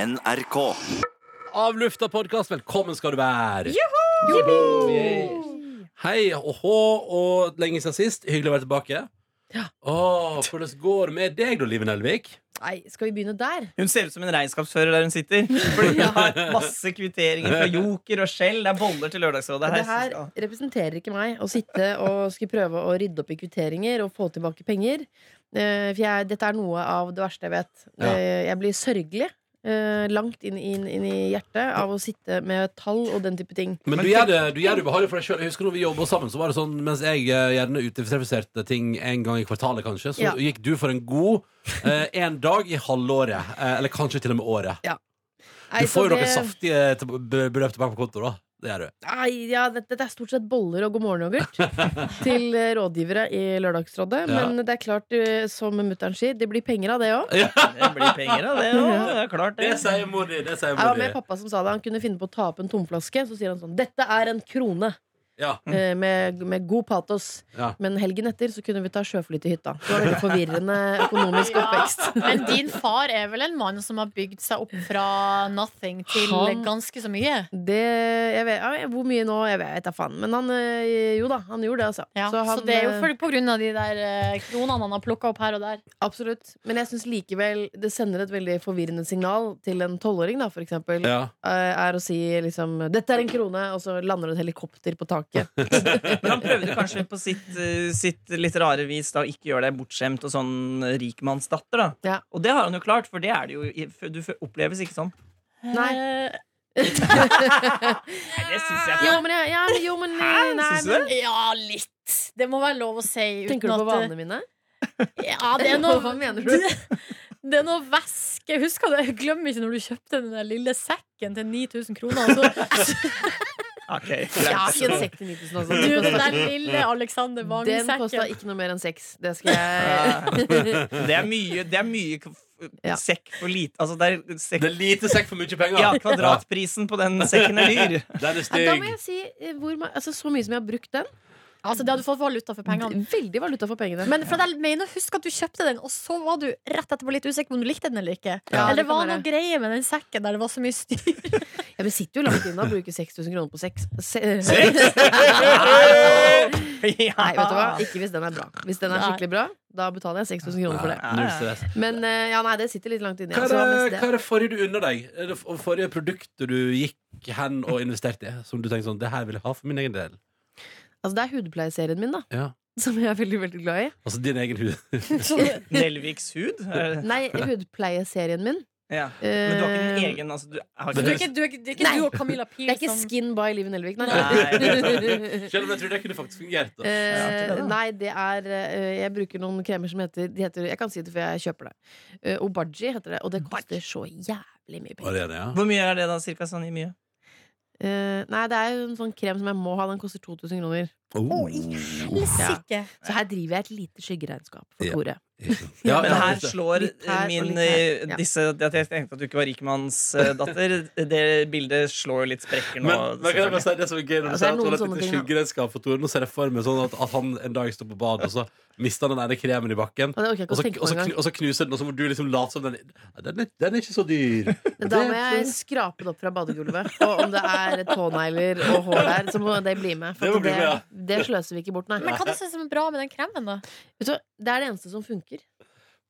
NRK. Avlufta podkast, velkommen skal du være. Yes. Hei og hå, og lenge siden sist. Hyggelig å være tilbake. Åh, hvordan går det med deg, da, Liven Elvik? Nei, skal vi begynne der? Hun ser ut som en regnskapsfører der hun sitter. Fordi hun har masse kvitteringer fra Joker og Shell. Det er boller til Lørdagsrådet her. Det her representerer ikke meg å sitte og skulle prøve å rydde opp i kvitteringer og få tilbake penger. Eh, For jeg, dette er noe av det verste jeg vet. Ja. Eh, Jeg blir sørgelig. eh, langt inn, inn, inn i hjertet av å sitte med tall og den type ting. Men, du, gjør det, du gjør det ubehagelig for deg sjøl. Jeg husker når vi jobba sammen, så var det sånn mens jeg eh, gjerne utifiserte ting en gang i kvartalet, kanskje, så Ja. gikk du for en god eh, en dag i halvåret. Eh, eller kanskje til og med året. Nei, Du får så jo noen det- saftige til- be- beløp tilbake på konto, da. Det gjør du. Nei, ja, dette, dette er stort sett boller og god morgen-yoghurt til eh, rådgivere i Lørdagsrådet. Ja. Men det er klart, eh, som mutter'n sier, det blir penger av det òg. Det blir penger av det òg. Det er klart, Det det. sier mor di. Det sier Jeg mor var med pappa som sa det. Han kunne finne på å ta opp en tomflaske. Så sier han sånn Dette er en krone. Ja. Mm. eh, Med, med god patos. Ja. Men helgen etter så kunne vi ta sjøfly til hytta. Det var veldig forvirrende økonomisk oppvekst. Men din far er vel en mann som har bygd seg opp fra nothing til Han- ganske så mye? Det, jeg vet, ja, hvor mye nå? Jeg vet da faen. Men han eh, Jo da, han gjorde det, altså. Ja, så, Så han, det er jo eh, for, på grunn av de der eh, kronene han har plukka opp her og der. Absolutt. Men jeg syns likevel det sender et veldig forvirrende signal til en tolvåring, da, for eksempel. Ja. eh, Er å si liksom 'Dette er en krone', og så lander det et helikopter på taket. Men han prøvde kanskje på sitt, eh, sitt litt rare vis da å ikke gjøre deg bortskjemt og sånn rikmannsdatter, da. Ja. Og det har han jo klart, for det er det jo i- Du oppleves ikke sånn. Nei. Eh, Nei, det syns jeg Jo, men jeg, ja, men- jo, men, eh, nei, Syns du men det? Ja, litt. Det må være lov å si. eh, Tenker du på vanene mine? Ja, det er noe, Hva mener du? Det, det er noe væske. Husker du, jeg glemmer ikke når du kjøpte den der lille sekken til 9000 kroner. og så- Ok, Ja, greit. Ikke en sekk til 9000, altså. du, den der Den lille Alexander kosta- Den kosta Wagen-sekken. ikke noe mer enn seks. Det skal jeg Det er mye, det er mye k- f- Ja. sekk for lite Altså, det er Det sekk er lite sekk for mye penger. Ja, kvadratprisen på den sekken er dyr. Ja, Den er ja, Da må stygg. jeg si eh, hvor, ma- altså, så mye som jeg har brukt den. Altså, det hadde du fått valuta for pengene. Mm, Veldig valuta for pengene. Men for jeg mener, husk at du kjøpte den, og så var du rett etterpå litt usikker på om du likte den eller ikke. Ja, eller det det kan var være. noe greie med den sekken der det var så mye styr. Ja, vi sitter jo langt inne og bruker 6000 kroner på sex. Se Nei, vet du hva? Ikke hvis den er bra. Hvis den er Nei. skikkelig bra, da betaler jeg 6000 kroner for det. Nei, null stress. Men eh, ja, nei, det sitter litt langt inni. Hva Ja, er, så det var mest det, hva det. er det forrige du unna deg? Er det f- forrige produktet du gikk hen og investerte i? Som du tenkte sånn, det her vil jeg ha for min egen del. Altså, det er hudpleieserien min, da. Ja. Som jeg er veldig veldig glad i. Altså din egen hud. Nelviks hud? Er- Nei, hudpleieserien min. Ja. eh, Men du har ikke din egen altså, du, har Du er ikke ikke, du er, ikke- det er ikke du og Camilla Pil Det er ikke som Skin by Liven Elvik, nei. Nei. Selv om jeg tror det kunne faktisk fungert. Da. Eh, Ja, det er det. nei, det er eh, Jeg bruker noen kremer som heter, de heter Jeg kan si det, for jeg kjøper det. Eh, Obagi heter det, og det koster så jævlig mye Var penger. det det, ja? Hvor mye er det, da? Cirka sånn i mye? Eh, nei, det er jo en sånn krem som jeg må ha. Den koster 2000 kroner. Oh. Helsike. Så her driver jeg et lite skyggeregnskap for Ja. koret. Ja, Men ja, her det er det. slår Litt her og min litt her. eh, Ja. disse, At jeg tenkte at du ikke var rikmannsdatter, det bildet slår jo litt sprekker nå. men, men kan jeg bare si det som er gøy når du Ja, det er sier at noen hun har sånne et ting, da. skyggeredskap for Tore? Nå ser jeg for meg sånn at, at han en dag står på badet, og så mister han den ene kremen i bakken. Og det orker jeg Og så, ikke å tenke og, på så, engang. knu- og så knuser den, og så må du liksom late som den Nei, den, er- den er ikke så dyr. Da må jeg skrape det opp fra badegulvet. Og om det er tånegler og hår der, så må det bli med. Det For må at bli det, med, ja. det sløser vi ikke bort, nei. Men hva er det som er bra med den kremen, da? Vet du, hva, det er det eneste som funker.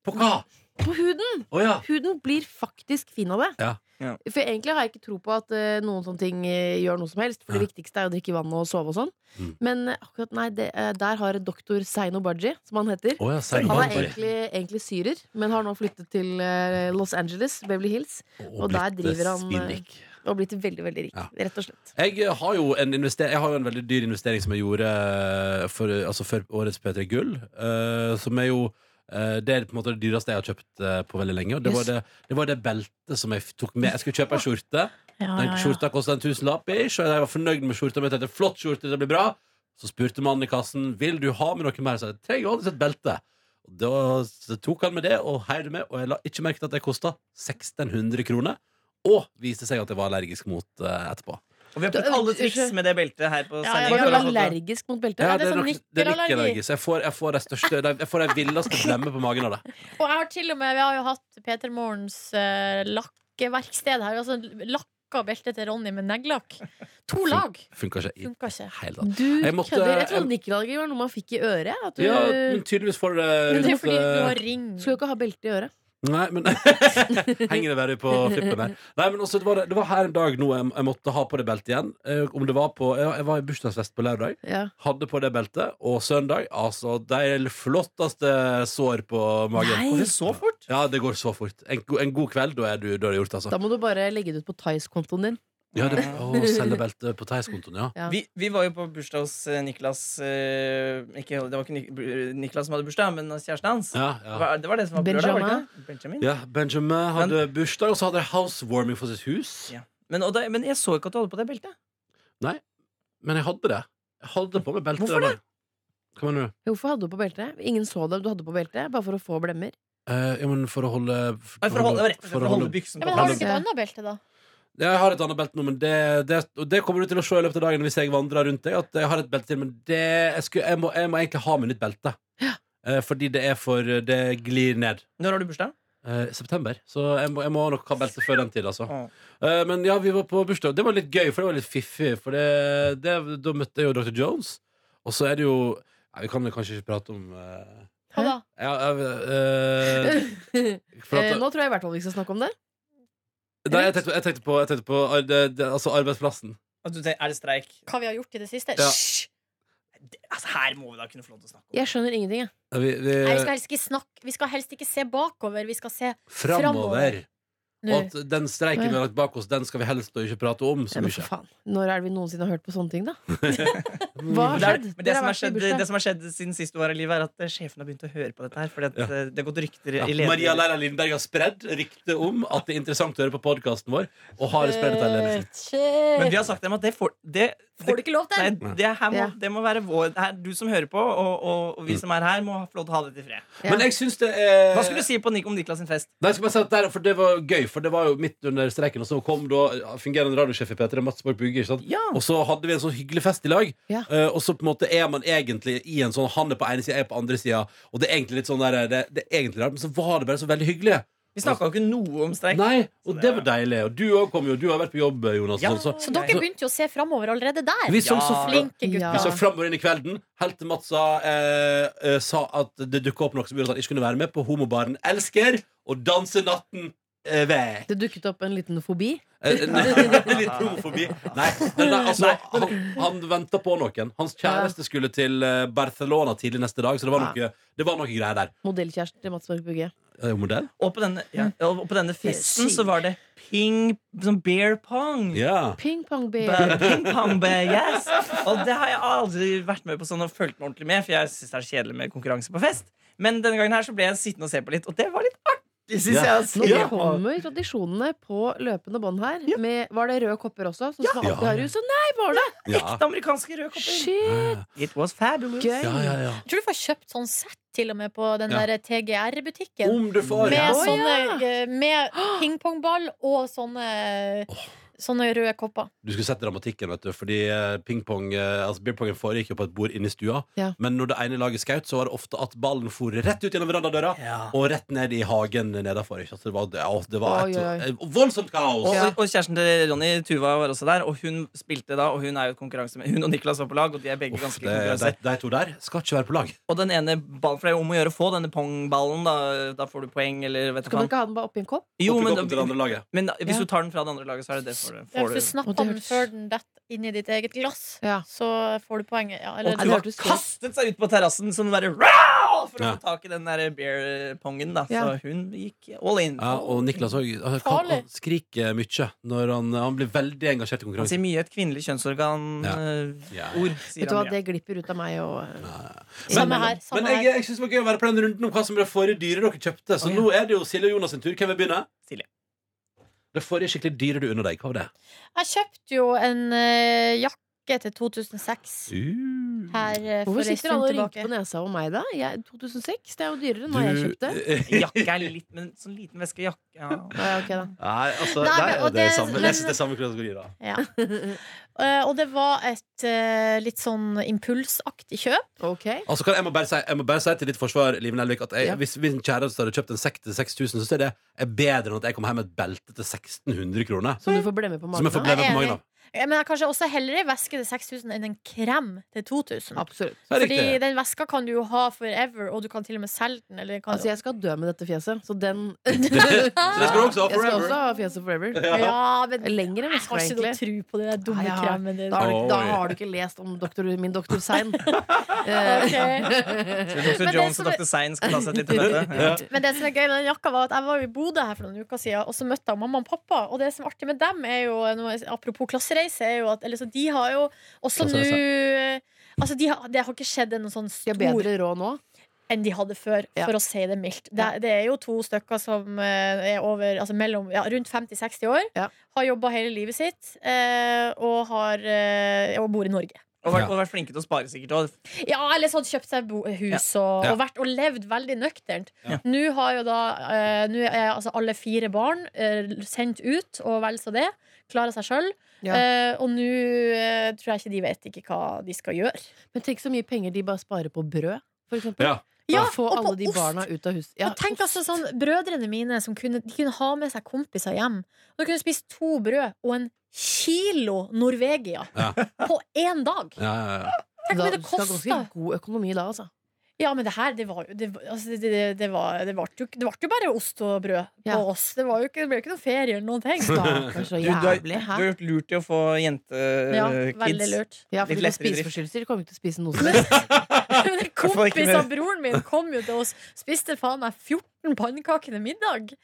På hva? På huden! Å ja. Huden blir faktisk fin av det. Ja. Ja. For egentlig har jeg ikke tro på at eh, noen sånne ting eh, gjør noe som helst. For det viktigste er å drikke vann og sove og sånn. Mm. Men eh, akkurat nei, det, eh, der har doktor Seino Baji, som han heter. Å ja, sier Han han er egentlig, egentlig syrer, men har nå flyttet til eh, Los Angeles, Beverly Hills, og der driver han, eh, Spinrik. og blitt veldig, veldig rik. Ja. Rett og slett. Jeg eh, har jo en, invester- jeg har jo en veldig dyr investering som jeg gjorde eh, for, altså før årets P3 Gull. eh, som er jo eh, Det er på en måte det dyreste jeg har kjøpt eh, på veldig lenge. Og det, Yes. var det, det var det beltet som jeg f- tok med. Jeg skulle kjøpe ei skjorte. Ja, Den skjorta kosta en tusenlapp, ish, og jeg var fornøyd med skjorta. Men jeg tenkte, flott skjorte, det blir bra Så spurte mannen i kassen Vil du ha med noe mer. Så jeg trenger aldri et belte. Og Da så tok han med det og heiv det med, og jeg la ikke merke til at det kosta 1600 kroner. Og viste seg at jeg var allergisk mot eh, etterpå. Og vi har prøvd alle triks med det beltet her på Ja, sending. ja, Var ja. du allergisk mot beltet? Ja, Er det det er sånn nok- det er nikkelallergi? nikkelallergi. Så jeg får, jeg får de største de- Jeg får de villeste blemmer på magen av det. Og jeg har til og med, vi har jo hatt Peter Morgens eh, lakk lakkeverksted her. Altså, lakka beltet til Ronny med neglelakk. To lag! Funka ikke i Funka ikke. hele tatt. Du Jeg måtte- kødder. Jeg jeg- trodde nikkelallergi var noe man fikk i øret. At du Ja, men tydeligvis får det Men det er rundt fordi du eh, har ring. skulle jo ikke ha belte i øret. Nei, men Henger det bare på flippen der. Nei, men også, det, var, det var her en dag nå jeg, jeg måtte ha på det beltet igjen. Eh, om det var på, jeg, jeg var i bursdagsfest på lørdag, Ja. hadde på det beltet, og søndag Altså, det er det flotteste sår på magen. Nei. Går det så fort? Ja, det går så fort. En, go- en god kveld, da er, du, da er det gjort, altså. Da må du bare legge det ut på Tice-kontoen din. Ja, det, å, selge beltet på Theis-kontoen, ja. Ja. Vi, vi var jo på bursdag hos eh, Niklas eh, ikke, Det var ikke Nik bu- Niklas som hadde bursdag, men hos kjæresten hans. Ja, ja. Hva- Det var det som var på lørdag, var det ikke det? Benjamin? ja Benjamin hadde bursdag, og så hadde jeg housewarming for sitt hus. Ja. Men, og da, men jeg så ikke at du hadde på deg beltet. Men jeg hadde det. Jeg hadde på meg beltet. Hvorfor det? Hva mener du? Hvorfor hadde du på belte? Ingen så det, du hadde på belte bare for å få blemmer. Eh, ja, men for å holde Nei, for å holde, det var rett og slett for å holde byksen Ja, på men har du plass. ikke et annet belte, da? Ja, Jeg har et annet belte nå, men det, det, og det kommer du til å se i løpet av dagen hvis jeg vandrer rundt deg. At jeg har et belte til, men det, jeg, skulle, jeg, må, jeg må egentlig ha med nytt belte. Eh, fordi det er for Det glir ned. Når har du bursdag? Eh, september. Så jeg må, jeg må nok ha belte før den tid, altså. Åh. Eh, men ja, vi var på bursdag. Det var litt gøy, for det var litt fiffig. For det, det, da møtte jeg jo Dr. Jones. Og så er det jo Nei, Vi kan vel kanskje ikke prate om eh, Hva da? ja, eh, eh, for at- Eh, nå tror jeg i hvert fall vi skal snakke om det. Nei, jeg tenkte, jeg tenkte på, jeg tenkte på ar- det, det, altså arbeidsplassen. At du tenker, er det streik? Hva vi har gjort i det siste? Ja. Hysj! Det, altså, her må vi da kunne få lov til å snakke om. Jeg skjønner ingenting, jeg. Eh, Vi, vi, Nei, vi skal helst ikke snakke Vi skal helst ikke se bakover. Vi skal se framover. Og nå. at den streiken vi har lagt bak oss, den skal vi helst da ikke prate om så Ja, men mye. for faen. Når er det vi noensinne har hørt på sånne ting, da? Hva har Det, er, skjedd? men det, Dere har som har vært i skjedd, bursdag. det som har skjedd siden sist du var i livet, er at eh, sjefen har begynt å høre på dette her. Fordi at Ja. eh, det har gått rykter Ja. i lederen. Maria Læra Lindberg har spredd ryktet om at det er interessant å høre på podkasten vår. Og har spredt det til Eh, ledelsen. Men Shit! vi har sagt dem at det får det, Får du ikke lov Nei, til? det, her må, Ja. det må være vår det her, Du som hører på, og, og, og vi som er her, må ha- få lov til å ha det i fred. Ja. Men jeg syns det er Hva skulle du si på Nik om Niklas sin fest? Nei, jeg skal bare si at der, for Det var gøy, for det var jo midt under streiken, og så kom da fungerende radiosjef i P3, Mats Borg Bugge. ikke sant? Ja. Og så hadde vi en sånn hyggelig fest i lag. Ja. Eh, og så på en måte er man egentlig i en sånn Han er på ene sida, jeg er på andre sida. Og det er egentlig litt sånn der, det, det er egentlig rart, men så var det bare så veldig hyggelig. Vi snakka jo ikke noe om streik. Nei, Og det var deilig. Og du òg kom jo. Du har vært på jobb, Jonas. Ja. og sånn, Så dere begynte jo å se framover allerede der. Vi så, Ja. så, fl- Flinke Ja. vi så gutter. framover inn i kvelden, helt til Mats sa, eh, eh, sa at det dukka opp noe som gjorde at han ikke kunne være med på Homobaren Elsker og danse natten eh, vekk. Det dukket opp en liten fobi. Eh, nei, litt homofobi. Nei, nei, nei altså, han, han venta på noen. Hans kjæreste skulle til eh, Barcelona tidlig neste dag, så det var noe, det var noe greier der. Modellkjæresten til Mats Borg Bugge. Eh, modell? Og på denne, ja, og på denne festen sykt. så var det ping Sånn beer pong. Ja. Ping pong Ba- beer. Ping pong, ba- yes. Og det har jeg aldri vært med på sånn og følt meg ordentlig med, for jeg syns det er kjedelig med konkurranse på fest. Men denne gangen her så ble jeg sittende og se på litt, og det var litt artig, syns Ja. jeg. å Nå se på. kommer tradisjonene på løpende bånd her. Med, var det røde kopper også? Sånn som man alltid Ja. har i huset? Nei, var det? Ja. Ekte amerikanske røde kopper. Shit, It was fabulous. gøy. Ja, ja, ja. Jeg tror du får kjøpt sånn sett til og med på den Ja. der TGR-butikken. Om du får Med ja. Å, sånne ja. eh, Med pingpongball og sånne Sånne røde kopper. Du skulle sett dramatikken, vet du. Fordi eh, pingpong eh, Altså beerpongen foregikk jo på et bord inne i stua. Ja. Men når det ene laget skaut, så var det ofte at ballen for rett ut gjennom verandadøra Ja. og rett ned i hagen nedafor. Ikke? sant? Så det var, ja, det var et Oi, oi, oi. eh, voldsomt kaos! Og, Ja. og kjæresten til Ronny, Tuva, var også der, og hun spilte da. Og hun er jo et konkurranse med Hun og Niklas var på lag, og de er begge Uff, det, ganske konkurranse. de, de to der skal ikke være på lag. Og den ene ballen, for det er jo om å gjøre å få denne pongballen, da, da får du poeng, eller vet du Kan hva. man ikke ha den bare oppi en kopp? Jo, men, Opp til det andre laget. men hvis Ja. du tar den fra det andre laget, så er det det for det. Hvis Får du du. snapper Og det den hørtes- før den detter inn i ditt eget glass, Ja. så får du poenget. Ja, Og eller, Nei, Tuva det hørtes gøy. kastet seg ut på terrassen som bare "Rau!" for å Ja. få tak i den der beer-pongen, da. Så Ja. hun gikk all in. Ja, og Niklas òg. Han, kan- Farlig. han skriker mye når han, han blir veldig engasjert i Han konkurransen. sier mye et kvinnelig kjønnsorgan-ord, Ja. Ja. sier Vet du hva, han mye. det glipper ut av meg og eh, samme her. Men Samme jeg, her. jeg synes det var gøy å være på den runden om hva som ble forrige dyre dere kjøpte. Så Å, ja. nå er det jo Silje og Jonas sin tur. Hvem vil begynne? Silje. Det forrige skikkelig dyre du unna deg. Hva var det? Jeg kjøpte jo en eh, jakke tilbake til 2006. Uh. Her eh, for Hvorfor en sitter alle stund og rynker tilbake. på nesa om meg, da? Jeg, 2006? Det er jo dyrere enn hva jeg kjøpte. Jakke er litt, men sånn liten veske jakke ja. Ja, ok da. Nei, altså, Nei, der men- er og det, det- samme. men- Jeg synes det er samme kategori, da. Ja. Eh, og det var et eh, litt sånn impulsaktig kjøp. Ok. Altså, kan jeg, må bare si, jeg må bare si til ditt forsvar, Liv Nelvik, at jeg, Ja. hvis min kjæreste hadde kjøpt en sekk til 6000, så er det er bedre enn at jeg kommer hjem med et belte til 1600 kroner. Som du får blemme på Som jeg får magen av? Jeg er bleve på magen enig. av. Eh, Men jeg har kanskje også heller ei veske til 6000 enn en krem til 2000. Absolutt. Det er Fordi riktig. den veska kan du jo ha forever, og du kan til og med selge den. Eller kan, Altså, jeg skal dø med dette fjeset, så den Så det skal du også ha Jeg skal forever. også ha fjeset forever. ja, men Lengre jeg veske, har ikke egentlig. noe tro på den der dumme Nei, jeg har- kremen din. Da har, du, ikke- da Oi. har du ikke lest om doktor, min doktor Sein. Eh, Ok. Så Dr. Men det Jones som og er- Dr. Sein skal ta seg litt til dette. Ja. Men det som er gøy med den jakka var at jeg var jo i Bodø her for noen uker siden, og så møtte jeg mamma og pappa. Og det som er artig med dem, er jo, nå- apropos klassereise, er jo at eller, så de har jo også nå Altså, de har, det har ikke skjedd en sånn De har stor bedre råd nå. enn de hadde før, Ja. for å si det mildt. Det, Ja. det er jo to stykker som eh, er over, altså mellom, ja, rundt 50-60 år, Ja. har jobba hele livet sitt eh, og, har, eh, og bor i Norge. Og vært, og vært flinke til å spare, sikkert. Og Ja, eller sånn kjøpt seg bo hus og, Ja. og, vært, og levd veldig nøkternt. Ja. Nå har jo da eh, Nå er altså alle fire barn eh, sendt ut, og vel så det. Klarer seg sjøl. Ja. Eh, og nå eh, tror jeg ikke de vet ikke hva de skal gjøre. Men tenk så mye penger de bare sparer på brød, for eksempel. Ja. Ja, Å få og på alle de ost. barna ut av huset. Ja, og tenk ost. altså sånn, Brødrene mine som kunne, de kunne ha med seg kompiser hjem. Og de kunne spise to brød og en kilo Norvegia Ja. på én dag! Ja, ja, ja. Tenk Da- om det du skal ha kosta ganske god økonomi da, altså. Ja, men det her, det var jo Det, var- altså, det, det, det, var, det, var, jo, det var jo bare ost og brød Ja. på oss. Det, var jo ikke, det ble jo ikke noe ferie eller noen ting. Stakkars så du, du, har, jævlig. du Hæ? har gjort lurt i å få Eh, eh, Ja, jentekids. veldig lurt. Ja, for Litt de med lettere drift. spiseforstyrrelser kommer ikke til å spise noe som helst. Men en fall ikke kompis mer. av broren min kom jo til oss, spiste faen meg 14 pannekaker til middag.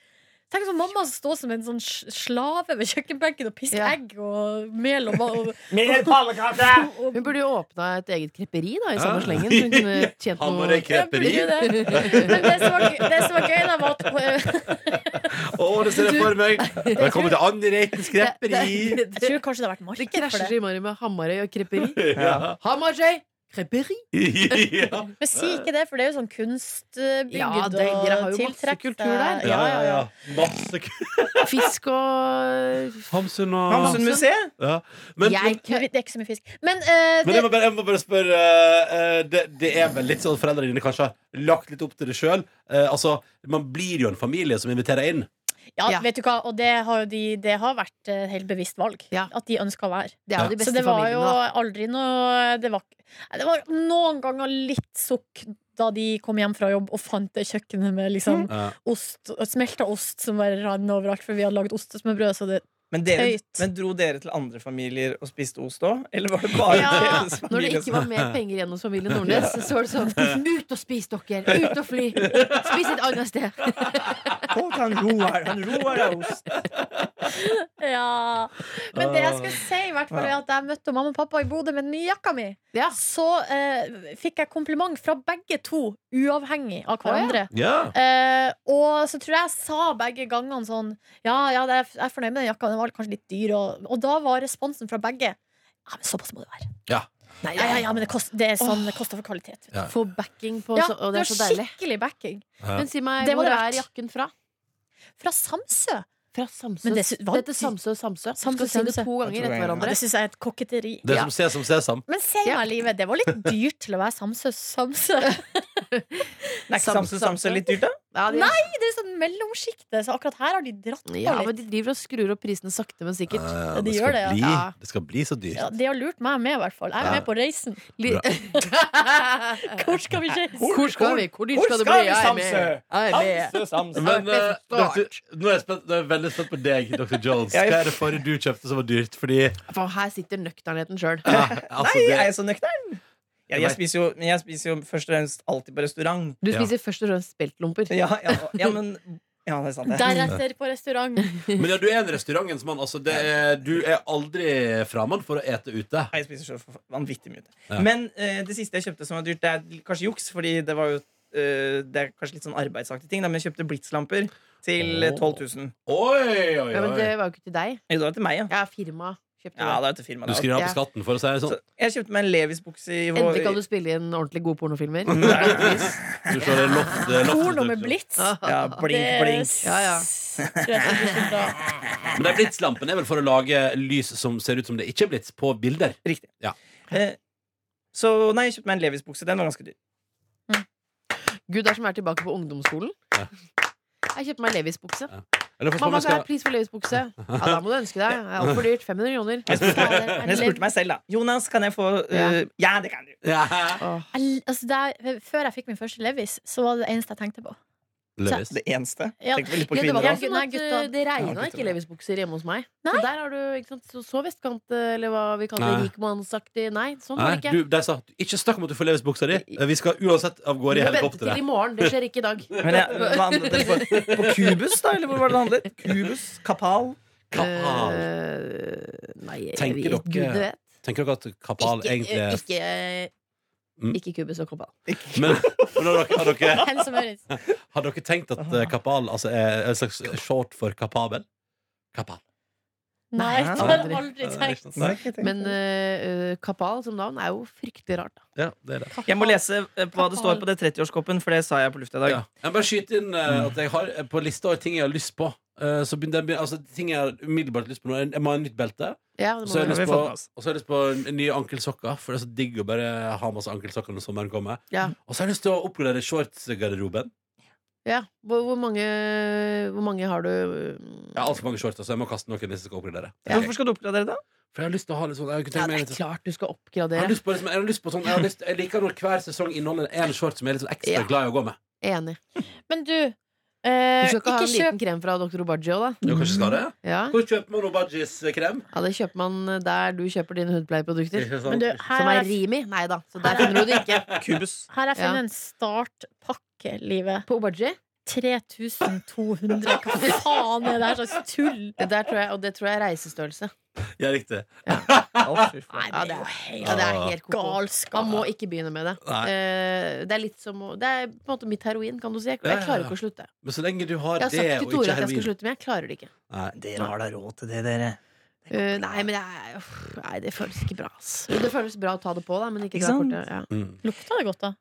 Tenk sånn mamma som står som en sånn sj- slave ved kjøkkenbenken og pisser Ja. egg og mel og, og, Mer pannekake! og, Hun burde jo åpna et eget kreperi Ah. da, i Ja. samme slengen, så hun kunne tjent Han noe var i kreperi. Jeg burde jo det. Men det som var, gøy- det som var gøy, da, var at eh, Å, det ser jeg for meg! Velkommen til Anni Reitens kreperi! Det- det- Jeg tror kanskje det har vært Det marked for krasjer det. så innmari med Hamarøy og kreperi. Ja. Hamarøy! Kreperi! ja. Men si ikke det, for det er jo sånn kunstbygd Ja, det- dere har og jo masse tiltrekk kultur seg- der. Ja, ja, ja. Masse k- Fisk og Hamsun og Hamsun-museet? Ja. Men, Jeg Men Det er ikke så mye fisk. Men, eh, Men jeg det, må bare, jeg må bare spørre eh, eh, det, det er vel litt sånn at foreldrene dine kanskje har lagt litt opp til det sjøl? altså, man blir jo en familie som inviterer inn. ja, Ja. vet du hva, og det har, jo de, det har vært et helt bevisst valg. Ja. At de ønska å være. Det er jo de Så beste det var jo familiene, da. aldri noe Det var, nei, det var noen ganger litt sukk da de kom hjem fra jobb og fant det kjøkkenet med liksom Mm. Ja. ost, smelta ost som bare rann overalt, for vi hadde laget ostesmørbrød. Så det, Men, dere, Høyt. men dro dere til andre familier og spiste ost òg? Eller var det bare Ja, Når deres det familie? ikke var mer penger igjen hos familien Nordnes, så var det sånn Ut og spis, dere! Ut og fly! Spis et annet sted! som- Å, han Roar, han Roar er ost. ja. Men det jeg skulle si, i hvert fall, er at jeg møtte mamma og pappa i Bodø med den nye jakka mi. Ja. så eh, fikk jeg kompliment fra begge to, uavhengig av hverandre. Ja. Eh, og så tror jeg jeg sa begge gangene sånn Ja, ja, det er, jeg er fornøyd med den jakka, den var kanskje litt dyr. Og, og da var responsen fra begge Ja, men såpass må det være. Ja. Nei, ja, ja, ja, men det, kost, det er sånn det koster for kvalitet. vet du. Ja. Få backing på Ja, så, Og det er det var så deilig. skikkelig backing. Men si meg, Det var hvor det er verdt. jakken fra? Fra Samsø. Fra Samsø. Men det Det, sy- var- heter Samsø og Samsø. Du Samsø, skal si det Samsø. to ganger Jeg tror etter jeg- Ja, hverandre. det syns jeg er et kokketeri. Det Ja. som ses som sesam. Men si Ja. meg, livet, det var litt dyrt til å være Samsøs Samsø. Er ikke Samse Samse litt dyrt, da? Ja, de, Nei! Det er sånn mellomsjiktet, så akkurat her har de dratt på ja, men litt. de driver og skrur opp prisene sakte, men sikkert. Eh, Ja, de skal gjør det, ja. bli, Ja. Eh, det skal bli så dyrt. Ja, de har lurt meg med, i hvert fall. Jeg er med på reisen. Li- Hvor skal vi reise? Hvor skal vi? Hvor dyrt Hvor skal det bli? skal vi, Jeg er Samsø? med. Jeg er med. Samse Samse. Men Ja, det eh, er så dr. nå er jeg, spent, nå er jeg veldig spent på deg, dr. Jones. Ja, jeg- Hva er det forrige du kjøpte som var dyrt? Fordi For her sitter nøkternheten sjøl. ja, altså, Nei, det, er jeg så nøktern? Ja, Nei. jeg, spiser jo, men jeg spiser jo først og fremst alltid på restaurant. Du Ja. spiser først og fremst speltlomper. Ja, ja, ja men Ja, det er sant, det. Deretter på restaurant. Men ja, du er en restaurantens mann. Altså, det er, du er aldri framann for å ete ute. Nei, Jeg spiser så for- vanvittig mye. Ja. Men eh, det siste jeg kjøpte som var dyrt, det er kanskje juks, fordi det var jo eh, Det er kanskje litt sånn arbeidsaktig ting, da, men jeg kjøpte blitslamper til eh, 12 000. Oi, oi, Ja, men oi. det var jo ikke til deg. Jo, det var til meg, ja. Jeg er firma. Kjøpte det. Ja, det er dette firmaet. Du skriver Ja. av på skatten, for å si det sånn. Så jeg kjøpte meg en Levis-bukse i vår. Endelig kan du spille inn ordentlig gode pornofilmer. Du ser det loft, det loftet- Porno med blits. Ja, blink, blink. Ja, ja. Tror jeg ikke blir så bra. Men den blitslampene er vel for å lage lys som ser ut som det ikke er blits, på bilder. Riktig. Ja. Eh, så nei, jeg kjøpte meg en Levis-bukse. Den var ganske dyr. Gud er som er tilbake på ungdomsskolen. Ja. Jeg kjøpte meg Levis-bukse. Eller for Mamma man sa skal... pris for Levis-bukse. Ja, da må du ønske deg. Det er Altfor dyrt. 500 kroner. Jeg spurte, Ja, det er men jeg lev- spurte meg selv, da. Jonas, kan jeg få eh, Ja, det kan du. ja. Åh. Jeg- Altså, der, før jeg fikk min første Levis, så var det det eneste jeg tenkte på. Levis. Det eneste. Ja. Tenk vel litt på Ja, det var kvinner Det er sånn at også. Ja, nei, gutta. eh, det Ja, regna gutta. ikke Levis-bukser hjemme hos meg. Så der har du ikke sant, så, så vestkant, eh, eller hva vi kaller Nei. det, rikmannsaktig. Nei, sånn var Nei, det du, ikke. de sa ikke snakk om at du får Levis-buksa di. Vi skal uansett av Du gårde i må vente til i helikopteret. morgen. Det skjer ikke i dag. Men jeg, hva handlet det på, på Kubus, da? Eller hvor var det det handlet? Kubus? Kapal? Kapal. Eh, nei, jeg Tenker vet dere- Gud, du vet. Tenker dere at kapal Ikke, eh, egentlig er ikke, Mm. ikke kubus og kopal. Men, men har, dere, har, dere, Helse Møris. har dere tenkt at eh, kapal altså, er en slags short for kapabel? Kapal. Nei, det har jeg aldri tenkt. Nei, Men eh, eh, kapal som navn er jo fryktelig rart. Da. Ja, det er det. Jeg må lese eh, hva det står på det 30-årskoppen, for det sa jeg på lufta i dag. Ja. Jeg må bare skyte inn eh, at jeg har eh, på lista over ting jeg har lyst på. eh, så begynner jeg, begynner- altså, ting jeg har umiddelbart lyst på nå er- Jeg må ha en nytt belte. Ja, Og det så har jeg må du- lyst vi på, fått med oss. og så har jeg lyst på n- nye ankelsokker, for det er så digg å bare ha masse ankelsokker når sommeren kommer. Ja. Og så har jeg lyst til å oppgradere shortsgarderoben. ja. Hvor, hvor, mange, hvor mange har du? Jeg har altfor mange shorts, så jeg må kaste noen hvis jeg skal oppgradere. Ja. Hvorfor skal du oppgradere da? For jeg har lyst til å ha litt sånn Jeg, kunne Ja, tenkt det meg er litt- klart du skal jeg, har oppgradere. lyst på, liksom, jeg, har lyst på sånn, jeg, har lyst, jeg liker når hver sesong inneholder en short som jeg er litt sånn ekstra Ja. glad i å gå med. Enig. Men du, Du eh, skal ikke ikke ha en kjøp liten krem fra Dr. Obaggio, da? Jo, kanskje skal det? Ja. Hvor kjøper man Obagis-krem? ja, det kjøper man eh, der du kjøper dine hudpleieprodukter. Men du, her sånn Som har er jeg, Rimi. Nei da, så der finner du det ikke. Kubus. her har jeg Ja. funnet en startpakke, Livet. På Obagi? 3200. Hva faen er det her slags tull? Det der tror jeg, og det tror jeg er reisestørrelse. Ja, riktig. Nei, Ja, det er helt, ja, det er helt koko. Man galskap. må ikke begynne med det. Nei. Eh, Det er litt som å- Det er på en måte mitt heroin, kan du si. Jeg Ja, ja, ja. jeg klarer ikke å slutte. Men så lenge du har Jeg har det sagt til og ikke Tore at jeg skal heroin slutte, men jeg klarer det ikke. Nei. Dere har da råd til det, dere. Eh, nei, men jeg, uff, nei, det føles ikke bra. ass. Jo, Det føles bra å ta det på, da, men ikke, Ikke dra sant? kortet, ja. Mm. Lukta det godt, da?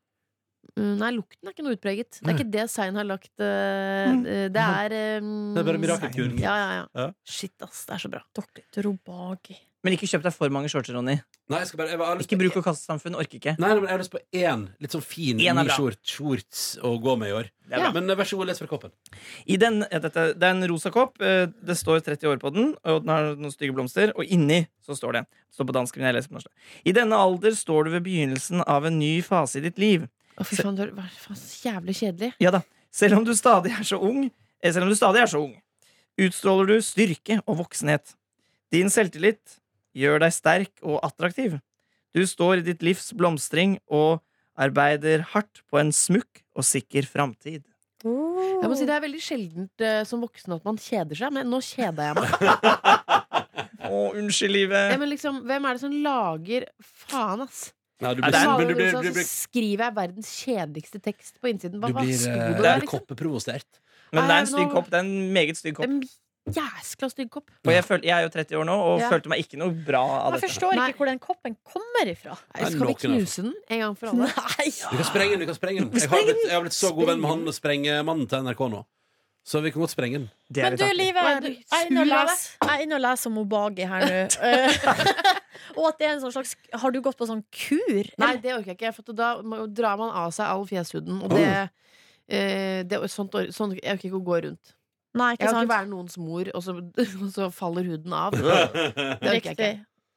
Mm, Nei, lukten er ikke noe utpreget. Det er ikke det Sein har lagt eh, Mm. eh, Det er eh, Det er bare mirakelkuren. Ja, ja, ja. Ja. Shit, ass. Det er så bra. Dr. Robagi. Men ikke kjøp deg for mange shorts, Ronny. Nei, jeg skal bare jeg har lyst Ikke bruk og kaste-samfunn. Orker ikke. Nei, nei, men jeg har lyst på én litt sånn fin Én er ny bra. short, shorts å gå med i år. Det er bra. Men eh, vær så god, les fra koppen. I den, eh, dette, det er en rosa kopp. eh, Det står 30 år på den, og den har noen stygge blomster. Og inni så står det. Det står på dansk, men jeg leser på norsk. I denne alder står du ved begynnelsen av en ny fase i ditt liv. Å, fy Se- faen, det var faen så jævlig kjedelig. Ja da. Selv om du stadig er så ung, eh, selv om du stadig er så ung, utstråler du styrke og voksenhet. Din selvtillit gjør deg sterk og attraktiv. Du står i ditt livs blomstring og arbeider hardt på en smukk og sikker framtid. Jeg må si Det er veldig sjeldent eh, som voksen at man kjeder seg, men nå kjeda jeg meg. Å, unnskyld, Ja, livet. men liksom, hvem er det som lager Faen, ass! Nei, du Ja, blir, det er- men du blir, Så du blir, skriver jeg verdens kjedeligste tekst på innsiden. du Hva, hva blir, sto eh, det du der, blir liksom? koppeprovosert. Men det er en Nei, nå- stygg kopp. Det er en meget stygg kopp. En jæskla stygg kopp. Og jeg, føl, jeg er jo 30 år nå og Ja. følte meg ikke noe bra av Jeg dette. forstår Nei. ikke hvor den koppen kommer ifra. Nei, Nei, altså. skal vi noen av- knuse den en gang for alle? Du kan sprenge den! du kan sprenge den Jeg har blitt, jeg har blitt så god venn med han og sprengemannen til NRK nå. Så vi kan godt sprenge den. Det er Men litt du, artig. Live, Hva er du- det? jeg er inne og Sur av leser- jeg er inne og leser om Obagi her nå. Eh, og at det er en sånn slags Har du gått på sånn kur? Nei, det orker jeg ikke. For da må- drar man av seg all fjeshuden. Og det, eh, det sånt, or- sånn, Jeg orker ikke å gå rundt. Nei, Jeg ikke kan ikke sant? være noens mor, og så, og så faller huden av. Det orker jeg ikke. Riktig.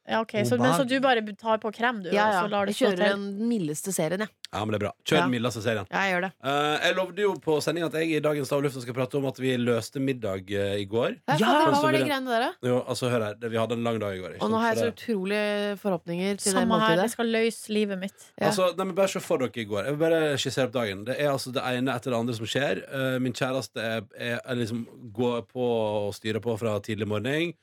Ja, ok, så, men så du bare tar på krem, du, Ja, ja. og så lar det Jeg stå kjører til? den mildeste serien, jeg. Ja, men det er bra. Kjør Ja. den mildeste serien. Ja, jeg gjør det. Eh, jeg lovde jo på sending at jeg i dagens Av lufta skal prate om at vi løste middag eh, i går. Ja, Ja, fader, sånn hva var som det vi- greiene der, da? Jo, altså, hør her. det- Vi hadde en lang dag i går. ikke Og sant? nå har jeg For så det- utrolige forhåpninger til det Samme her, det måltidet. skal løse livet mitt. Ja. Altså, nei, men bare se for dere i går. Jeg vil bare skissere opp dagen. Det er altså det ene etter det andre som skjer. Eh, min kjæreste er, er, er liksom går på og styrer på fra tidlig morgen.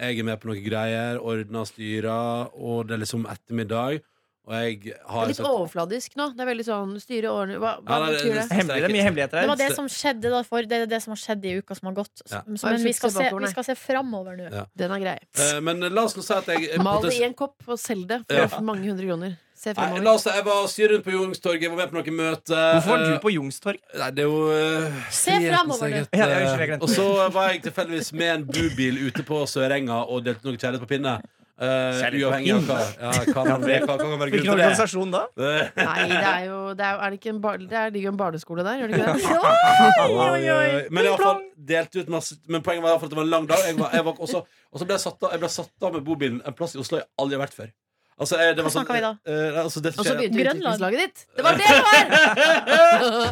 Jeg er med på noen greier, ordner og styrer, og det er liksom ettermiddag. Og jeg Det har er litt overfladisk nå. Det er veldig sånn styre årene Hva, hva sånn- Ja, nei, det- betyr det? det- Hemmelig, det er mye hemmeligheter Det her. var det som skjedde da, for, det er det som har skjedd i uka som har gått. Ja. Men, Har du vi, skal sukses se, bakover, vi nei? skal se framover nå. Ja. Den er grei. Eh, Men la oss nå si at jeg Mal det potens- i en kopp og selg det for Ja. mange hundre kroner. Se Nei, fremover. la oss si jeg var og styrte rundt på Youngstorget, jeg var med på noen møter. eh, Hvorfor var du på Youngstorg? Nei, det er jo eh, Se frihetens fremover, du. eget, Ja, ja, unnskyld, jeg eh, glemte Og så var jeg tilfeldigvis med en bubil ute på Sørenga og delte noe kjærlighet på pinne. Eh, Kjærlighet på uavhengig av hva, ja, hva, man vet, hva, hva kan være grunnen Hvilken til det. organisasjon da? Eh, Nei, det er jo Det, er, jo- er det, ikke en bar, det er, ligger jo en barneskole der, gjør det ikke det? oi, oi. eh, Men i alle fall delte ut masse Men poenget var i alle fall at det var en lang dag. Jeg var, jeg var også, og så ble jeg satt, av, jeg ble satt av med bobilen en plass i Oslo jeg aldri har vært før. Altså, jeg, det var Hva sånn, snakker vi da? eh, eh, altså, det Og så skjer- begynte Grønland. utviklingslaget ditt! Det var det det var!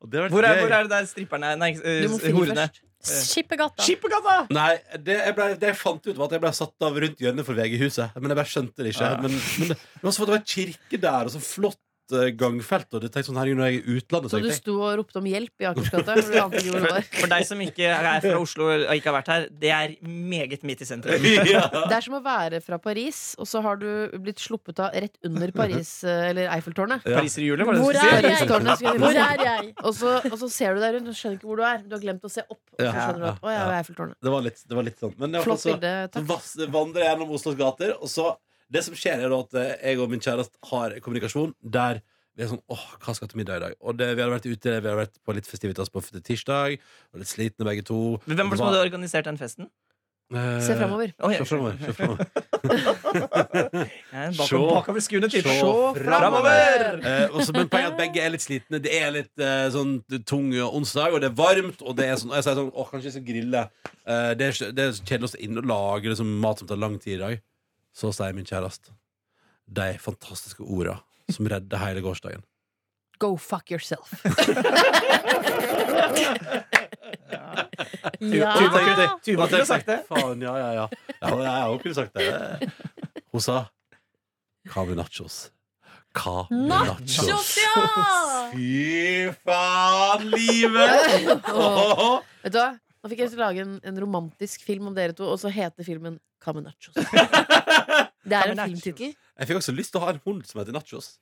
og det har vært Hvor er, gøy. hvor er det der stripperne Nei, eh, Du må fri horene. først. Skippergata. Skippergata! Nei, det jeg, ble, det jeg fant ut var at jeg ble satt av rundt hjørnet for VG-huset. Men jeg bare skjønte det ikke. Ja. Men, men det, det var så flott, det var en kirke der, og så flott eh, gangfelt. Og du tenkte sånn, herregud, når jeg er i utlandet, så Så du tenkte jeg sto og ropte om hjelp i Akersgata? for du ante ikke hvor det var. For deg som ikke er fra Oslo og ikke har vært her, det er meget midt i sentrum. ja. Det er som å være fra Paris, og så har du blitt sluppet av rett under Paris, eh, eller Eiffeltårnet. Pariserhjulet, var det Hvor du er skulle si? jeg? Paristårnet, skulle jeg Hvor si. er jeg? Og så, og så ser du deg rundt og skjønner ikke hvor du er. Du har glemt å se opp. Og så Ja, skjønner du at, ja, å, jeg er ved ja. Eiffeltårnet Det var litt, det var litt sånn. Men jeg, Flott så, bilde. så Takk. vas- vandrer jeg gjennom Oslos gater, og så Det som skjer, er da at eh, jeg og min kjæreste har kommunikasjon der vi er sånn åh, hva skal jeg til middag i dag? Og det, vi har vært ute, vi har vært på litt festivitas på tirsdag, og litt slitne begge to. Eh, Men Hvem var det som hadde organisert den festen? Se fremover. Oi, Se fremover, se fremover. ja, Sjå. bakom, bakover skuende type. Se Framover! Eh, og så- men poenget er at begge er litt slitne. Det er litt eh, sånn tung onsdag, og det er varmt. Og det er sånn, og jeg sier sånn Åh, kanskje jeg skal grille. Eh, det, er, ikke- det er så kjedelig å stå inne og lage liksom, mat som tar lang tid i dag. Så sier min kjæreste de fantastiske orda som redder hele gårsdagen. Go fuck yourself. Eh, Ja. Og jeg tenkte- Tuva og jeg kunne tenkte, sagt det. Faen, ja, ja, ja. ja, ja, ja hun kunne sagt det. Hun sa Hva med nachos? Hva med nachos? Nachos, ja! Fy faen, livet! Åh. Vet du hva? Nå fikk jeg lyst til å lage en, en romantisk film om dere to, og så heter filmen Caminachos. Det er en Caminachos. filmtittel. Jeg fikk også lyst til å ha en hund som heter Nachos.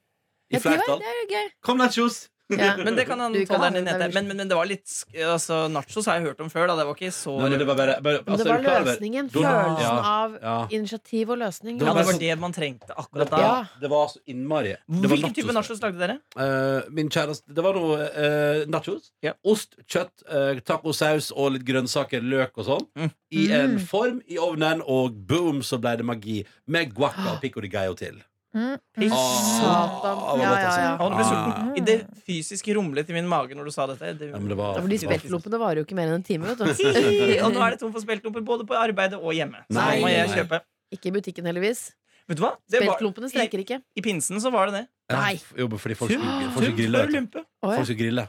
I Ja, det var- flertall. Det er jo gøy. Kom, Nachos! Ja. Men det kan han Du kan ha tolleren din den hete. der. Men, men, men det var litt sk- altså, Nachos har jeg hørt om før. Da. Det var ikke så Nei, men det var bare, bare Men altså, det er var du klar over- løsningen. Donald- Følelsen av Ja, ja. initiativ og løsning. Ja, var det bare var sånn- det man trengte akkurat da. Det, Ja. det var så innmari det var Hvilken type nachos lagde dere? Eh, min kjæreste Det var noe eh, nachos. Ja. Ost, kjøtt, eh, tacosaus og litt grønnsaker, løk og sånn. Mm. I en form i ovnen, og boom, så ble det magi. Med guacca og pico de gallo til. Satan. Ah, det var Ja, godt, ja, altså. ja. Han ble sulten. Ah. I det fysisk rumlet i min mage når du sa dette. Det, Ja, men det var, Ja, for de det var- speltloppene varer jo ikke mer enn en time. Vet du. og nå er det tom for speltklumper både på arbeidet og hjemme. Så Nei, nå må jeg nei. kjøpe. Ikke i butikken, heldigvis. Vet du hva? Det var, Speltklumpene streiker ikke. I pinsen så var det det. Ja, Nei. jo, fordi folk Tum, skulle, folk tum skulle grille. for vet du. lumpe. Å, ja. Folk skulle grille.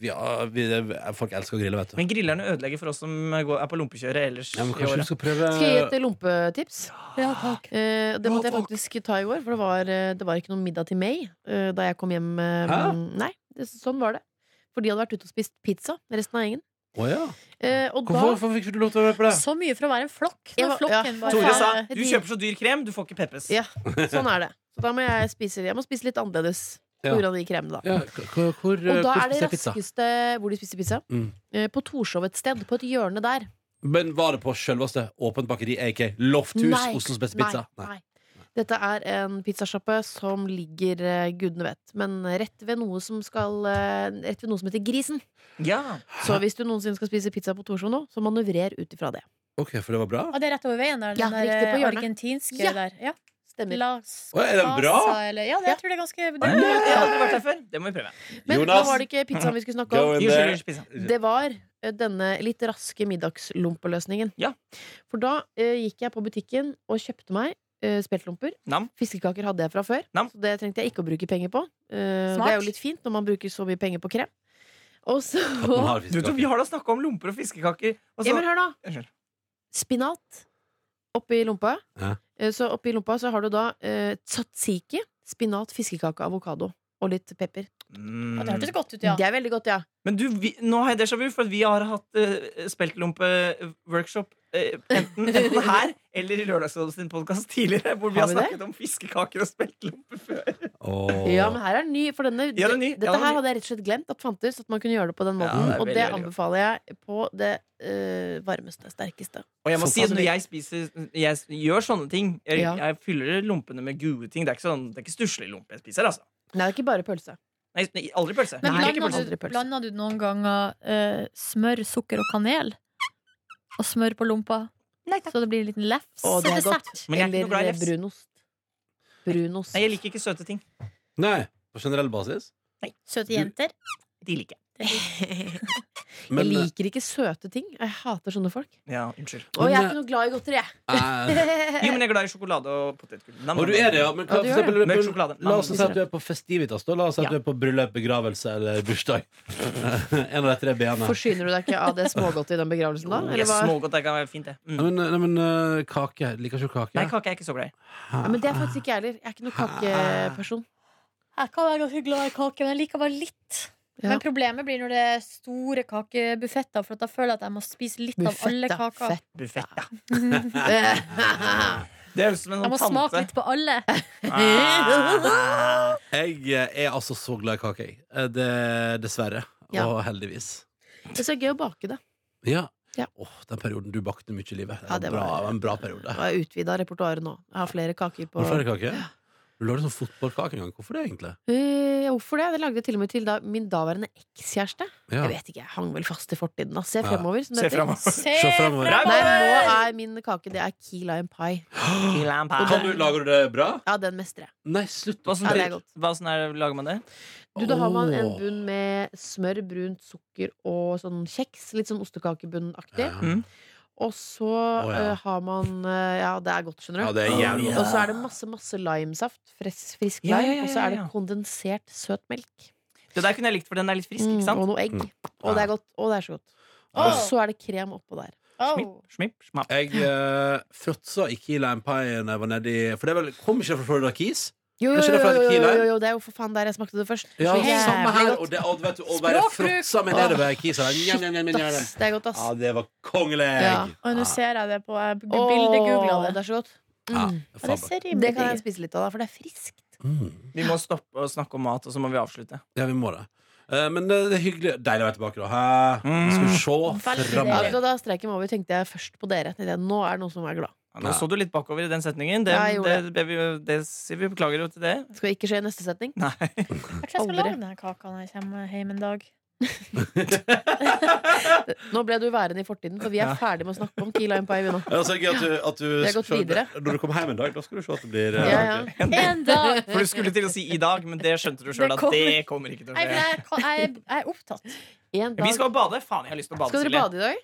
Vi, ja, vi, folk elsker å grille, vet du. Men grillerne ødelegger for oss som går, er på lompekjøret ellers Ja, men i kanskje du året. skal prøve Skal jeg gi et lompetips? Ja, takk. Eh, det måtte jeg faktisk ta i går, for det var, eh, det var ikke noen middag til meg eh, da jeg kom hjem. eh, Hæ? Nei, det, sånn var det. For de hadde vært ute og spist pizza, resten av gjengen. Å, ja. Eh, og Hvorfor, da hvorfor fikk ikke du lov til å være med på det? Så mye for å være en flokk. Jeg Når var- ja. flokken bare Tore sa er- du kjøper så dyr krem, du får ikke Peppes. Ja. Sånn er det. Så da må jeg spise, jeg må spise litt annerledes Ja. på grunn av de kremene, da. Ja, k- k- hvor Og da hvor er det spiser jeg pizza? raskeste hvor de spiser pizza. Mm. Eh, på Torshov et sted. På et hjørne der. Men var det på selveste Åpent bakeri, AK Lofthus, Oslos beste pizza? Nei. nei. Dette er en pizzasjappe som ligger eh, gudene vet, men rett ved noe som skal eh, Rett ved noe som heter Grisen. Ja. Så hvis du noensinne skal spise pizza på Torshov nå, så manøvrer ut ifra det. Ok, for det var bra? Ja, det er rett over veien der. Den Ja, riktig, der på eh, hjørnet. argentinske Ja. der. Ja. Stemmer. La Å, er den bra? Casa, eller, ja, det, jeg tror det er ganske det, Jeg har aldri vært der før. Det må vi prøve. Men nå Jonas, var det ikke pizzaen vi skulle snakke go om. in Unnskyld, there. unnskyld, pizza. Det var eh, denne litt raske middagslompeløsningen. Ja. For da eh, gikk jeg på butikken og kjøpte meg eh, speltlomper. Nam. Fiskekaker hadde jeg fra før, Nam. så det trengte jeg ikke å bruke penger på. Eh, Smart. det er jo litt fint når man bruker så mye penger på krem. Og så At man har Du, fiskekaker. Tor, vi har da snakka om lomper og fiskekaker. Og Ja, så, men hør nå. Unnskyld. Spinat oppi lompa. Ja. Eh, Så oppi lompa så har du da eh, tzatziki, spinat, fiskekake, avokado. Og litt pepper. Ja, det hørtes mm. godt ut, ja. Det er veldig godt, ja. Men du, vi, nå har jeg déjà vu, for at vi har hatt uh, speltlompe-workshop eh, enten, enten her eller i Lørdagsrådet sin podkast tidligere, hvor vi Har har vi det? snakket om fiskekaker og speltlomper før. Åh. Ja, men her er den ny. For denne, Ja, den er ny. Dette Ja, den er her ny. hadde jeg rett og slett glemt at fantes. At man kunne gjøre det på den Ja, måten. det er og veldig, det veldig godt. anbefaler jeg på det eh, varmeste, sterkeste. Og jeg må Såpass si at når mye. jeg spiser Jeg s- gjør sånne ting. Jeg, Ja. jeg fyller lompene med gode ting. Det er ikke, sånn, det er ikke stusslig lompe jeg spiser, altså. Nei, det er ikke bare pølse. Nei, nei, aldri pølse. Men Nei, Jeg liker blant pølse. blander aldri du, pølse. blander du noen ganger eh, smør, sukker og kanel? Og smør på lompa? Så det blir en liten lefs? Å, det er Dessert. godt. Men jeg er ikke noe glad i Eller lefs. brunost. Brunost. Nei, jeg liker ikke søte ting. Nei, på generell basis. Søte jenter? De liker jeg. Men jeg liker ikke søte ting. Jeg hater sånne folk. Ja, unnskyld. Og jeg Men, er ikke noe glad i godteri, jeg. eh, Jo, men jeg er glad i sjokolade og potetgull. Nam, Og du nam, nam. er det, ja. Men hva, Ja, du for er det. eksempel, Mørk sjokolade. La oss si Nam, at du er på festivitas. Da. La oss si at Ja. du er på bryllup, begravelse eller bursdag. en av de tre b-ene. Forsyner du deg ikke av det smågodtet i den begravelsen, da? Jeg Eller hva? smågodt, det kan være fint, det. Nei, Mm. men, nei, men eh, kake. Liker ikke du kake? Nei, kake er jeg ikke så glad i. Ja, men det er faktisk ikke jeg heller. Jeg er ikke noen kakeperson. Jeg kan være ganske glad i kake, men jeg liker bare litt. Ja. Men problemet blir når det er store kakebuffetter, for at da føler jeg at jeg må spise litt Buffett, av alle da. kaker. Fett. Buffett, ja. Eh, Det høres ut som en Jeg må sånn smake tante. litt på alle. Ah. Jeg eh, er altså så glad i kake, jeg. Eh, Det, dessverre. Ja. Og heldigvis. Det er så gøy å bake det. Ja. Ja. Åh, den perioden du bakte mye i livet. Det var, Ja, det var- bra, det var en bra periode. Og jeg utvida repertoaret nå. Jeg har flere kaker på Har du flere kaker? Du lagde sånn fotballkake en gang. Hvorfor det, egentlig? Eh, Hvorfor det? Det lagde jeg til og med til da min daværende ekskjæreste. Ja. Jeg vet ikke, jeg hang vel fast i fortiden. Da. Se Ja. fremover, som Se det heter. framover. Se Se fremover. fremover! Nei, nå er min kake det er key lime pie. Kan du, lager du det bra? Ja, den mestrer jeg. Nei, slutt. Hva Ja, det er sånn, godt. hva sånn er, lager man det? Du, da har man en Åh. bunn med smør, brunt sukker og sånn kjeks. Litt sånn ostekakebunnaktig. Ja. Mm. Og så Å, ja. eh, har man eh, Ja, det er godt, skjønner du. Ja, det er jævlig Ja. godt. Og så er det masse masse limesaft. Frisk, frisk lime. Ja, ja, ja, Og så er det ja, ja. kondensert søt melk. Det der kunne jeg likt, for den er litt frisk, Mm, ikke sant? og noe egg. Mm. Og det er godt. Og det er så godt. Ja. Og så er det krem oppå der. Oh. Smipp, smipp, smapp. Jeg eh, fråtsa ikke i lime pie når jeg var nedi For det er vel, kom ikke fra Florida Keys? Jo, jo, Er ikke det jo, fra jo, Key jo, Lime? jo, jo, det er jo for faen der jeg smakte det først. Ja, Så jævlig samme her. godt. Og det, og, vet du, å være Språkbruk! fråtsa meg nedover Keesa. Njam, njam, njam, njam, njam. Ass, det er godt, ass. Ja, det var kongelig! Ja. Og nå ser jeg det på Jeg Åh, bildegoogla det. Det er så godt. Ja, Mm. faen, Ja, Det ser Det rimelig kan jeg digg ut. spise litt av, da, for det er friskt. Mm. Vi må stoppe å snakke om mat, og så må vi avslutte. Ja, vi må det. Eh, Men eh, det er hyggelig. Deilig å være tilbake, da. Hæ? Mm. Vi skal se Veldig Ja, deilig. framover. så da streiken var over, tenkte jeg først på dere. Tenkte Jeg, nå er det noen som er glad. Ja, Nå så du litt bakover i den setningen. Det, Ja, jeg det, gjorde det, vi, det sier vi beklager jo til det. Det skal ikke skje i neste setning. Nei. Jeg tror jeg skal Aldri. lage denne kaka når jeg kommer hjem en dag. Nå ble du værende i fortiden, for vi er Ja. ferdig med å snakke om Key Lime Pie. vi nå. Ja, så er det gøy at du, at du Vi har gått skal- videre. Når du kommer hjem en dag, da skal du se at det blir eh, Ja, ja. En dag! For du skulle til å si 'i dag', men det skjønte du sjøl Det at kommer- det kommer ikke til å Nei, for skje. jeg, kan- jeg, jeg er opptatt. En dag. Vi skal bade. Faen, jeg har lyst til å bade. Skal dere Silje. bade i dag?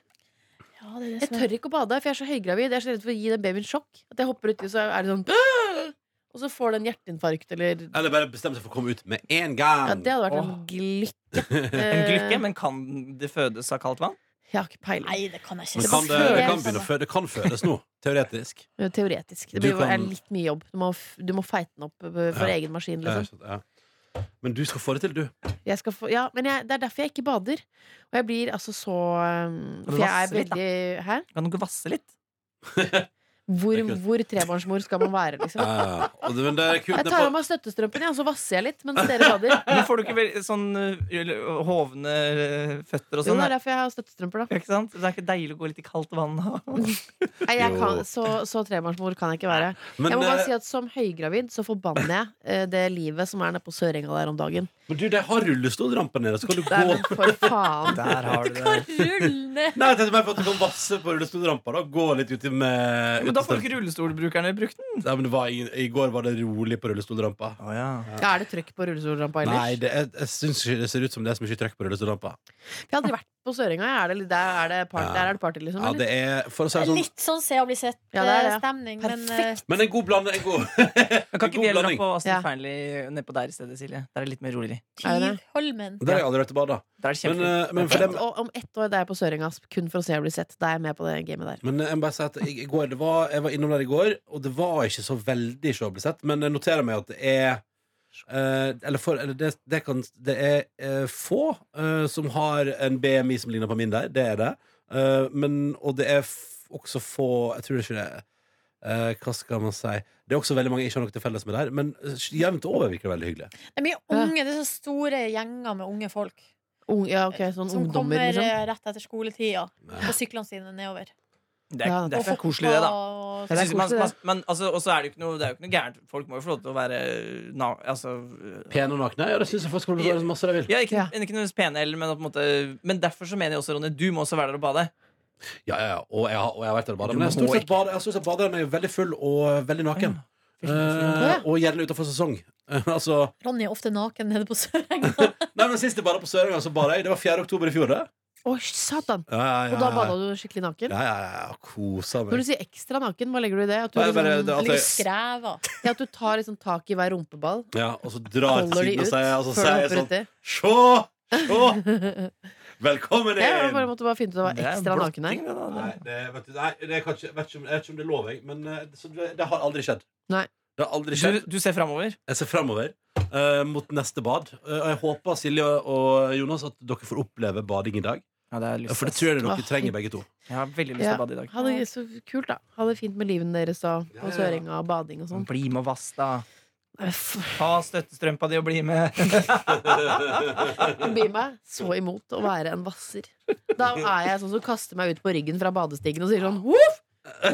Ja, det er det Jeg som er. tør ikke å bade, for jeg er så høygravid. Jeg er så redd for å gi den babyen sjokk. At jeg hopper uti, så er det sånn «Åh!» Og så får den hjerteinfarkt eller ja, Eller bare bestemme seg for å komme ut med en gang. Det hadde vært en Åh. glikke. En glykke, Eh, men kan det fødes av kaldt vann? Jeg har ikke peiling. Nei, det kan jeg ikke. Men Det kan det, var det, før kan jeg- begynne, å fø- det kan fødes nå, teoretisk. Det er Teoretisk. Det Du blir jo er kan- litt mye jobb. Du må, f- du må feite den opp eh, for Ja. egen maskin. Ja, Liksom. ikke sant, Eh, ja. Men du skal få det til, du. Jeg skal få, ja, men jeg, det er derfor jeg ikke bader. Og jeg blir altså så eh, For jeg er vasser litt, da. veldig Hæ? Kan du ikke vasse litt? Hvor, Det er kult. hvor trebarnsmor skal man være, Ja, liksom? ja, ja. Eh, Og det, men det er kult. Jeg det er tar på- av meg støttestrømpene, ja, og så vasser jeg litt mens dere bader. Men får du ikke vel- sånn uh, hovne uh, føtter og Jo, sånn? det er da? derfor jeg har støttestrømper, da. Ikke sant? Det er ikke deilig å gå litt i kaldt vann? Nei, jeg Jo. kan, så, så trebarnsmor kan jeg ikke være. Men, jeg må bare eh, si at Som høygravid så forbanner jeg eh, det livet som er nede på Sørenga der om dagen. men du, de har rullestolramper nede. Så kan du Det er gå men for faen. Der har du det. Rull ned! Nei, jeg tenkte mer på at du kan vasse på rullestolrampa. Da. Gå litt uti med Men da får du ikke rullestolbrukerne brukt den. Nei, men det var, i, I går var det rolig på rullestolrampa. Ja, er det trøkk på rullestolrampa Nei, ellers? det, jeg, jeg syns ikke det ser ut som det er så mye trøkk på rullestolrampa. Vi har aldri vært på Sørenga. jeg. Er det, litt- der, er det party, Ja. der er det party, liksom? Ja, eller? det er, for å si det sånn Litt sånn se og bli Ja, det er det. sett-stemning, men eh, Men en god blanding. En god, Men kan God ikke vi heller dra blanding. på Aston Ja. Fearnley nedpå der i stedet, Silje? Der er det litt mer rolig. Er det det? Tyvholmen. der har jeg aldri vært i bad, da. Der er det Men, kjempefint. eh, men for dem Et, og om ett år det er jeg på Sørenga kun for å se og bli sett. Da er jeg med på det gamet der. Men jeg må bare si at jeg, i går, det var, jeg var innom der i går, og det var ikke så veldig show å bli sett. Men jeg noterer meg at det er eh, Eller, for, eller det, det, kan, det er eh, få eh, som har en BMI som ligner på min der. Det er det. Eh, men, og det er f også få Jeg tror det ikke det er Eh, hva skal man si? Det er også veldig mange jeg ikke har noe til felles med der, men eh, jevnt over virker det veldig hyggelig. Det er mye unge, det er så store gjenger med unge folk Ung, ja, Eh, ok, sånn som ungdommer, kommer liksom. eh, rett etter skoletida Ja. på syklene sine nedover. Det er, Ja. det er Og ikke koselig, det, da. fotball og- Det er Jeg synes man, koselig, man, det. men altså, også er det, jo ikke noe, det er jo ikke noe gærent. Folk må jo få lov til å være na, altså, Pene og nakne? Ja, det syns jeg folk skal få være så masse de vil. ja, ikke, Ja. ikke nødvendigvis pene heller, men, på en måte, men derfor så mener jeg også, Ronny, du må også være der og bade. Ja, ja, ja. Og jeg har, og jeg har vært der og badet. Du Men jeg har må stort sett ikke. badet, jeg har stort sett badet når jeg er veldig full og eh, veldig naken. Mm. Eh, og gjerne utenfor sesong. altså Ronny er ofte naken nede på Sørenga. Nei, men Sist jeg badet på Sørøya, så badet jeg. Det var 4. oktober i fjor. det Å, satan! ja, ja, ja, Og da ja. bada du skikkelig naken? Ja, ja, ja. ja, Kosa Når meg. du sier ekstra naken, hva legger du i det? At du, Nei, bare liksom, det at Ligger og jeg, skrever. ja, at du tar liksom tak i hver rumpeball, ja, og så drar jeg til holder siden og de ut sier altså, før du sier jeg hopper sånn uti? Sjå! Sjå! Velkommen Ja, Jeg bare inn! måtte bare finne ut at det var Det er ekstra naken der. blotting, det, da. Nei, det, vet du, nei, det kan ikke, vet ikke om, jeg vet ikke om det lover jeg, men eh, så det, det har aldri skjedd. Nei. Det har aldri skjedd. Du, du ser framover. Jeg ser framover eh, mot neste bad. Eh, Og jeg håper Silje og Jonas at dere får oppleve bading i dag. Ja, det er lyst, For det ass. tror jeg dere Åh, trenger, begge to. Jeg har veldig lyst til Ja. å bade i dag. Ha det så kult, da. Ha det fint med livet deres da, Ja, ja, på ja. Sørenga og bading og sånn. Bli med og vass, da. Uff, Ta støttestrømpa di og bli med. Det blir meg så imot å være en vasser. Da er jeg sånn som kaster meg ut på ryggen fra badestigen og sier sånn voff,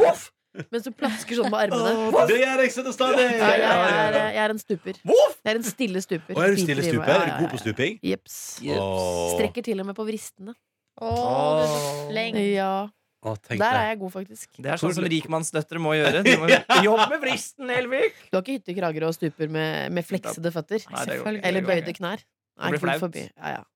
voff, mens du plasker sånn med armene. Det gjør jeg støtt og stadig! Ja, jeg, er, eh, jeg er en stuper. Voff! Jeg er en stille stuper. Og er du stille Driter i meg. stuper? Er du god på stuping? Jeps. Åh. Strekker til og med på vristene. Å, du er så fleng. Ja, Åh, tenk Der det. er jeg god, faktisk. Det er sånn som rikmannsdøtre må gjøre. Du må jobbe med vristen, Elvik! Du har ikke hytte i Kragerø og stuper med, med fleksede føtter? Nei, det går ikke. Eller Det går bøyde ikke. knær? Det Nei, blir full flaut. forbi. Ja, ja.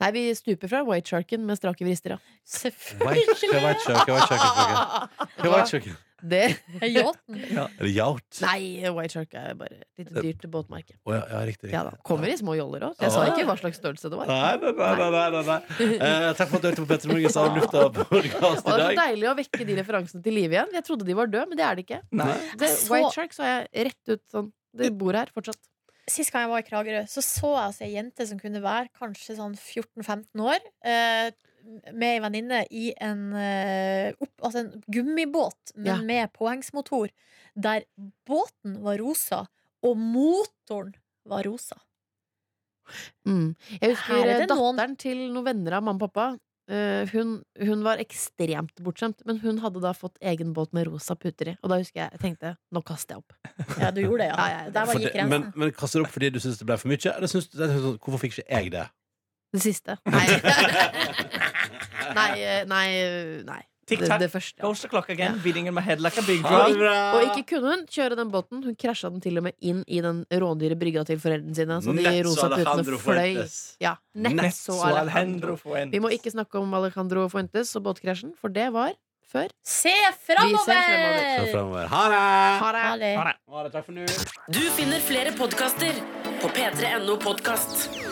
Nei, vi stuper fra White Sharken med strake vrister, ja. White Selvfølgelig. Shark, White Shark, White Shark, White Ah, Shark. White Shark. Det, Yachten. Eller yacht. nei, White Shark er bare et lite dyrt båtmerke. Å, ja, ja, riktig. riktig. Ja da. Kommer i små joller òg, så Ah. jeg sa ikke hva slags størrelse det var. Nei, nei, nei, nei, nei, nei. Eh, Takk for at du hørte på Petter Morgens av lufta podcast Og det i er så dag deilig å vekke de referansene til live igjen. Jeg trodde de var døde, men det er de ikke. Nei. Det, Jeg så- White Shark så jeg rett ut sånn. Det bor her fortsatt. Sist gang jeg var i Kragerø, så så jeg altså ei jente som kunne være kanskje sånn 14-15 år, eh, med ei venninne i en, eh, opp, altså en gummibåt, men Ja. med påhengsmotor, der båten var rosa, og motoren var rosa. Mm. Jeg Her husker er eh, det noen- datteren til noen venner av mamma og pappa. eh, hun, hun var ekstremt bortskjemt, men hun hadde da fått egen båt med rosa puter i. Og da husker jeg jeg tenkte nå kaster jeg opp. Ja, du gjorde det, ja. Ja, ja, det- For Der var det- gikk grensen. Men, men kaster du opp fordi du syns det ble for mye? Eller synes du, det er sånn, hvorfor fikk ikke jeg det? Det siste. Nei. nei, eh, nei, eh, nei. Tic Det, tac, det første. Ja. goes the clock again, beating in my head like a big Ha det drum. bra! Og ikke kunne hun kjøre den båten. Hun krasja den til og med inn i den rådyre brygga til foreldrene sine. Så de Nett så rosa Alejandro putene fløy. Fuentes. Ja, nett, Nett så så Alejandro. Alejandro Fuentes. Vi må ikke snakke om Alejandro Fuentes og båtkrasjen, for det var før. Se Vi ser fremover. Så framover! fremover. Ha det! Ha det! Ha det. Ha det. Takk for nå. Du finner flere podkaster på p3.no podkast.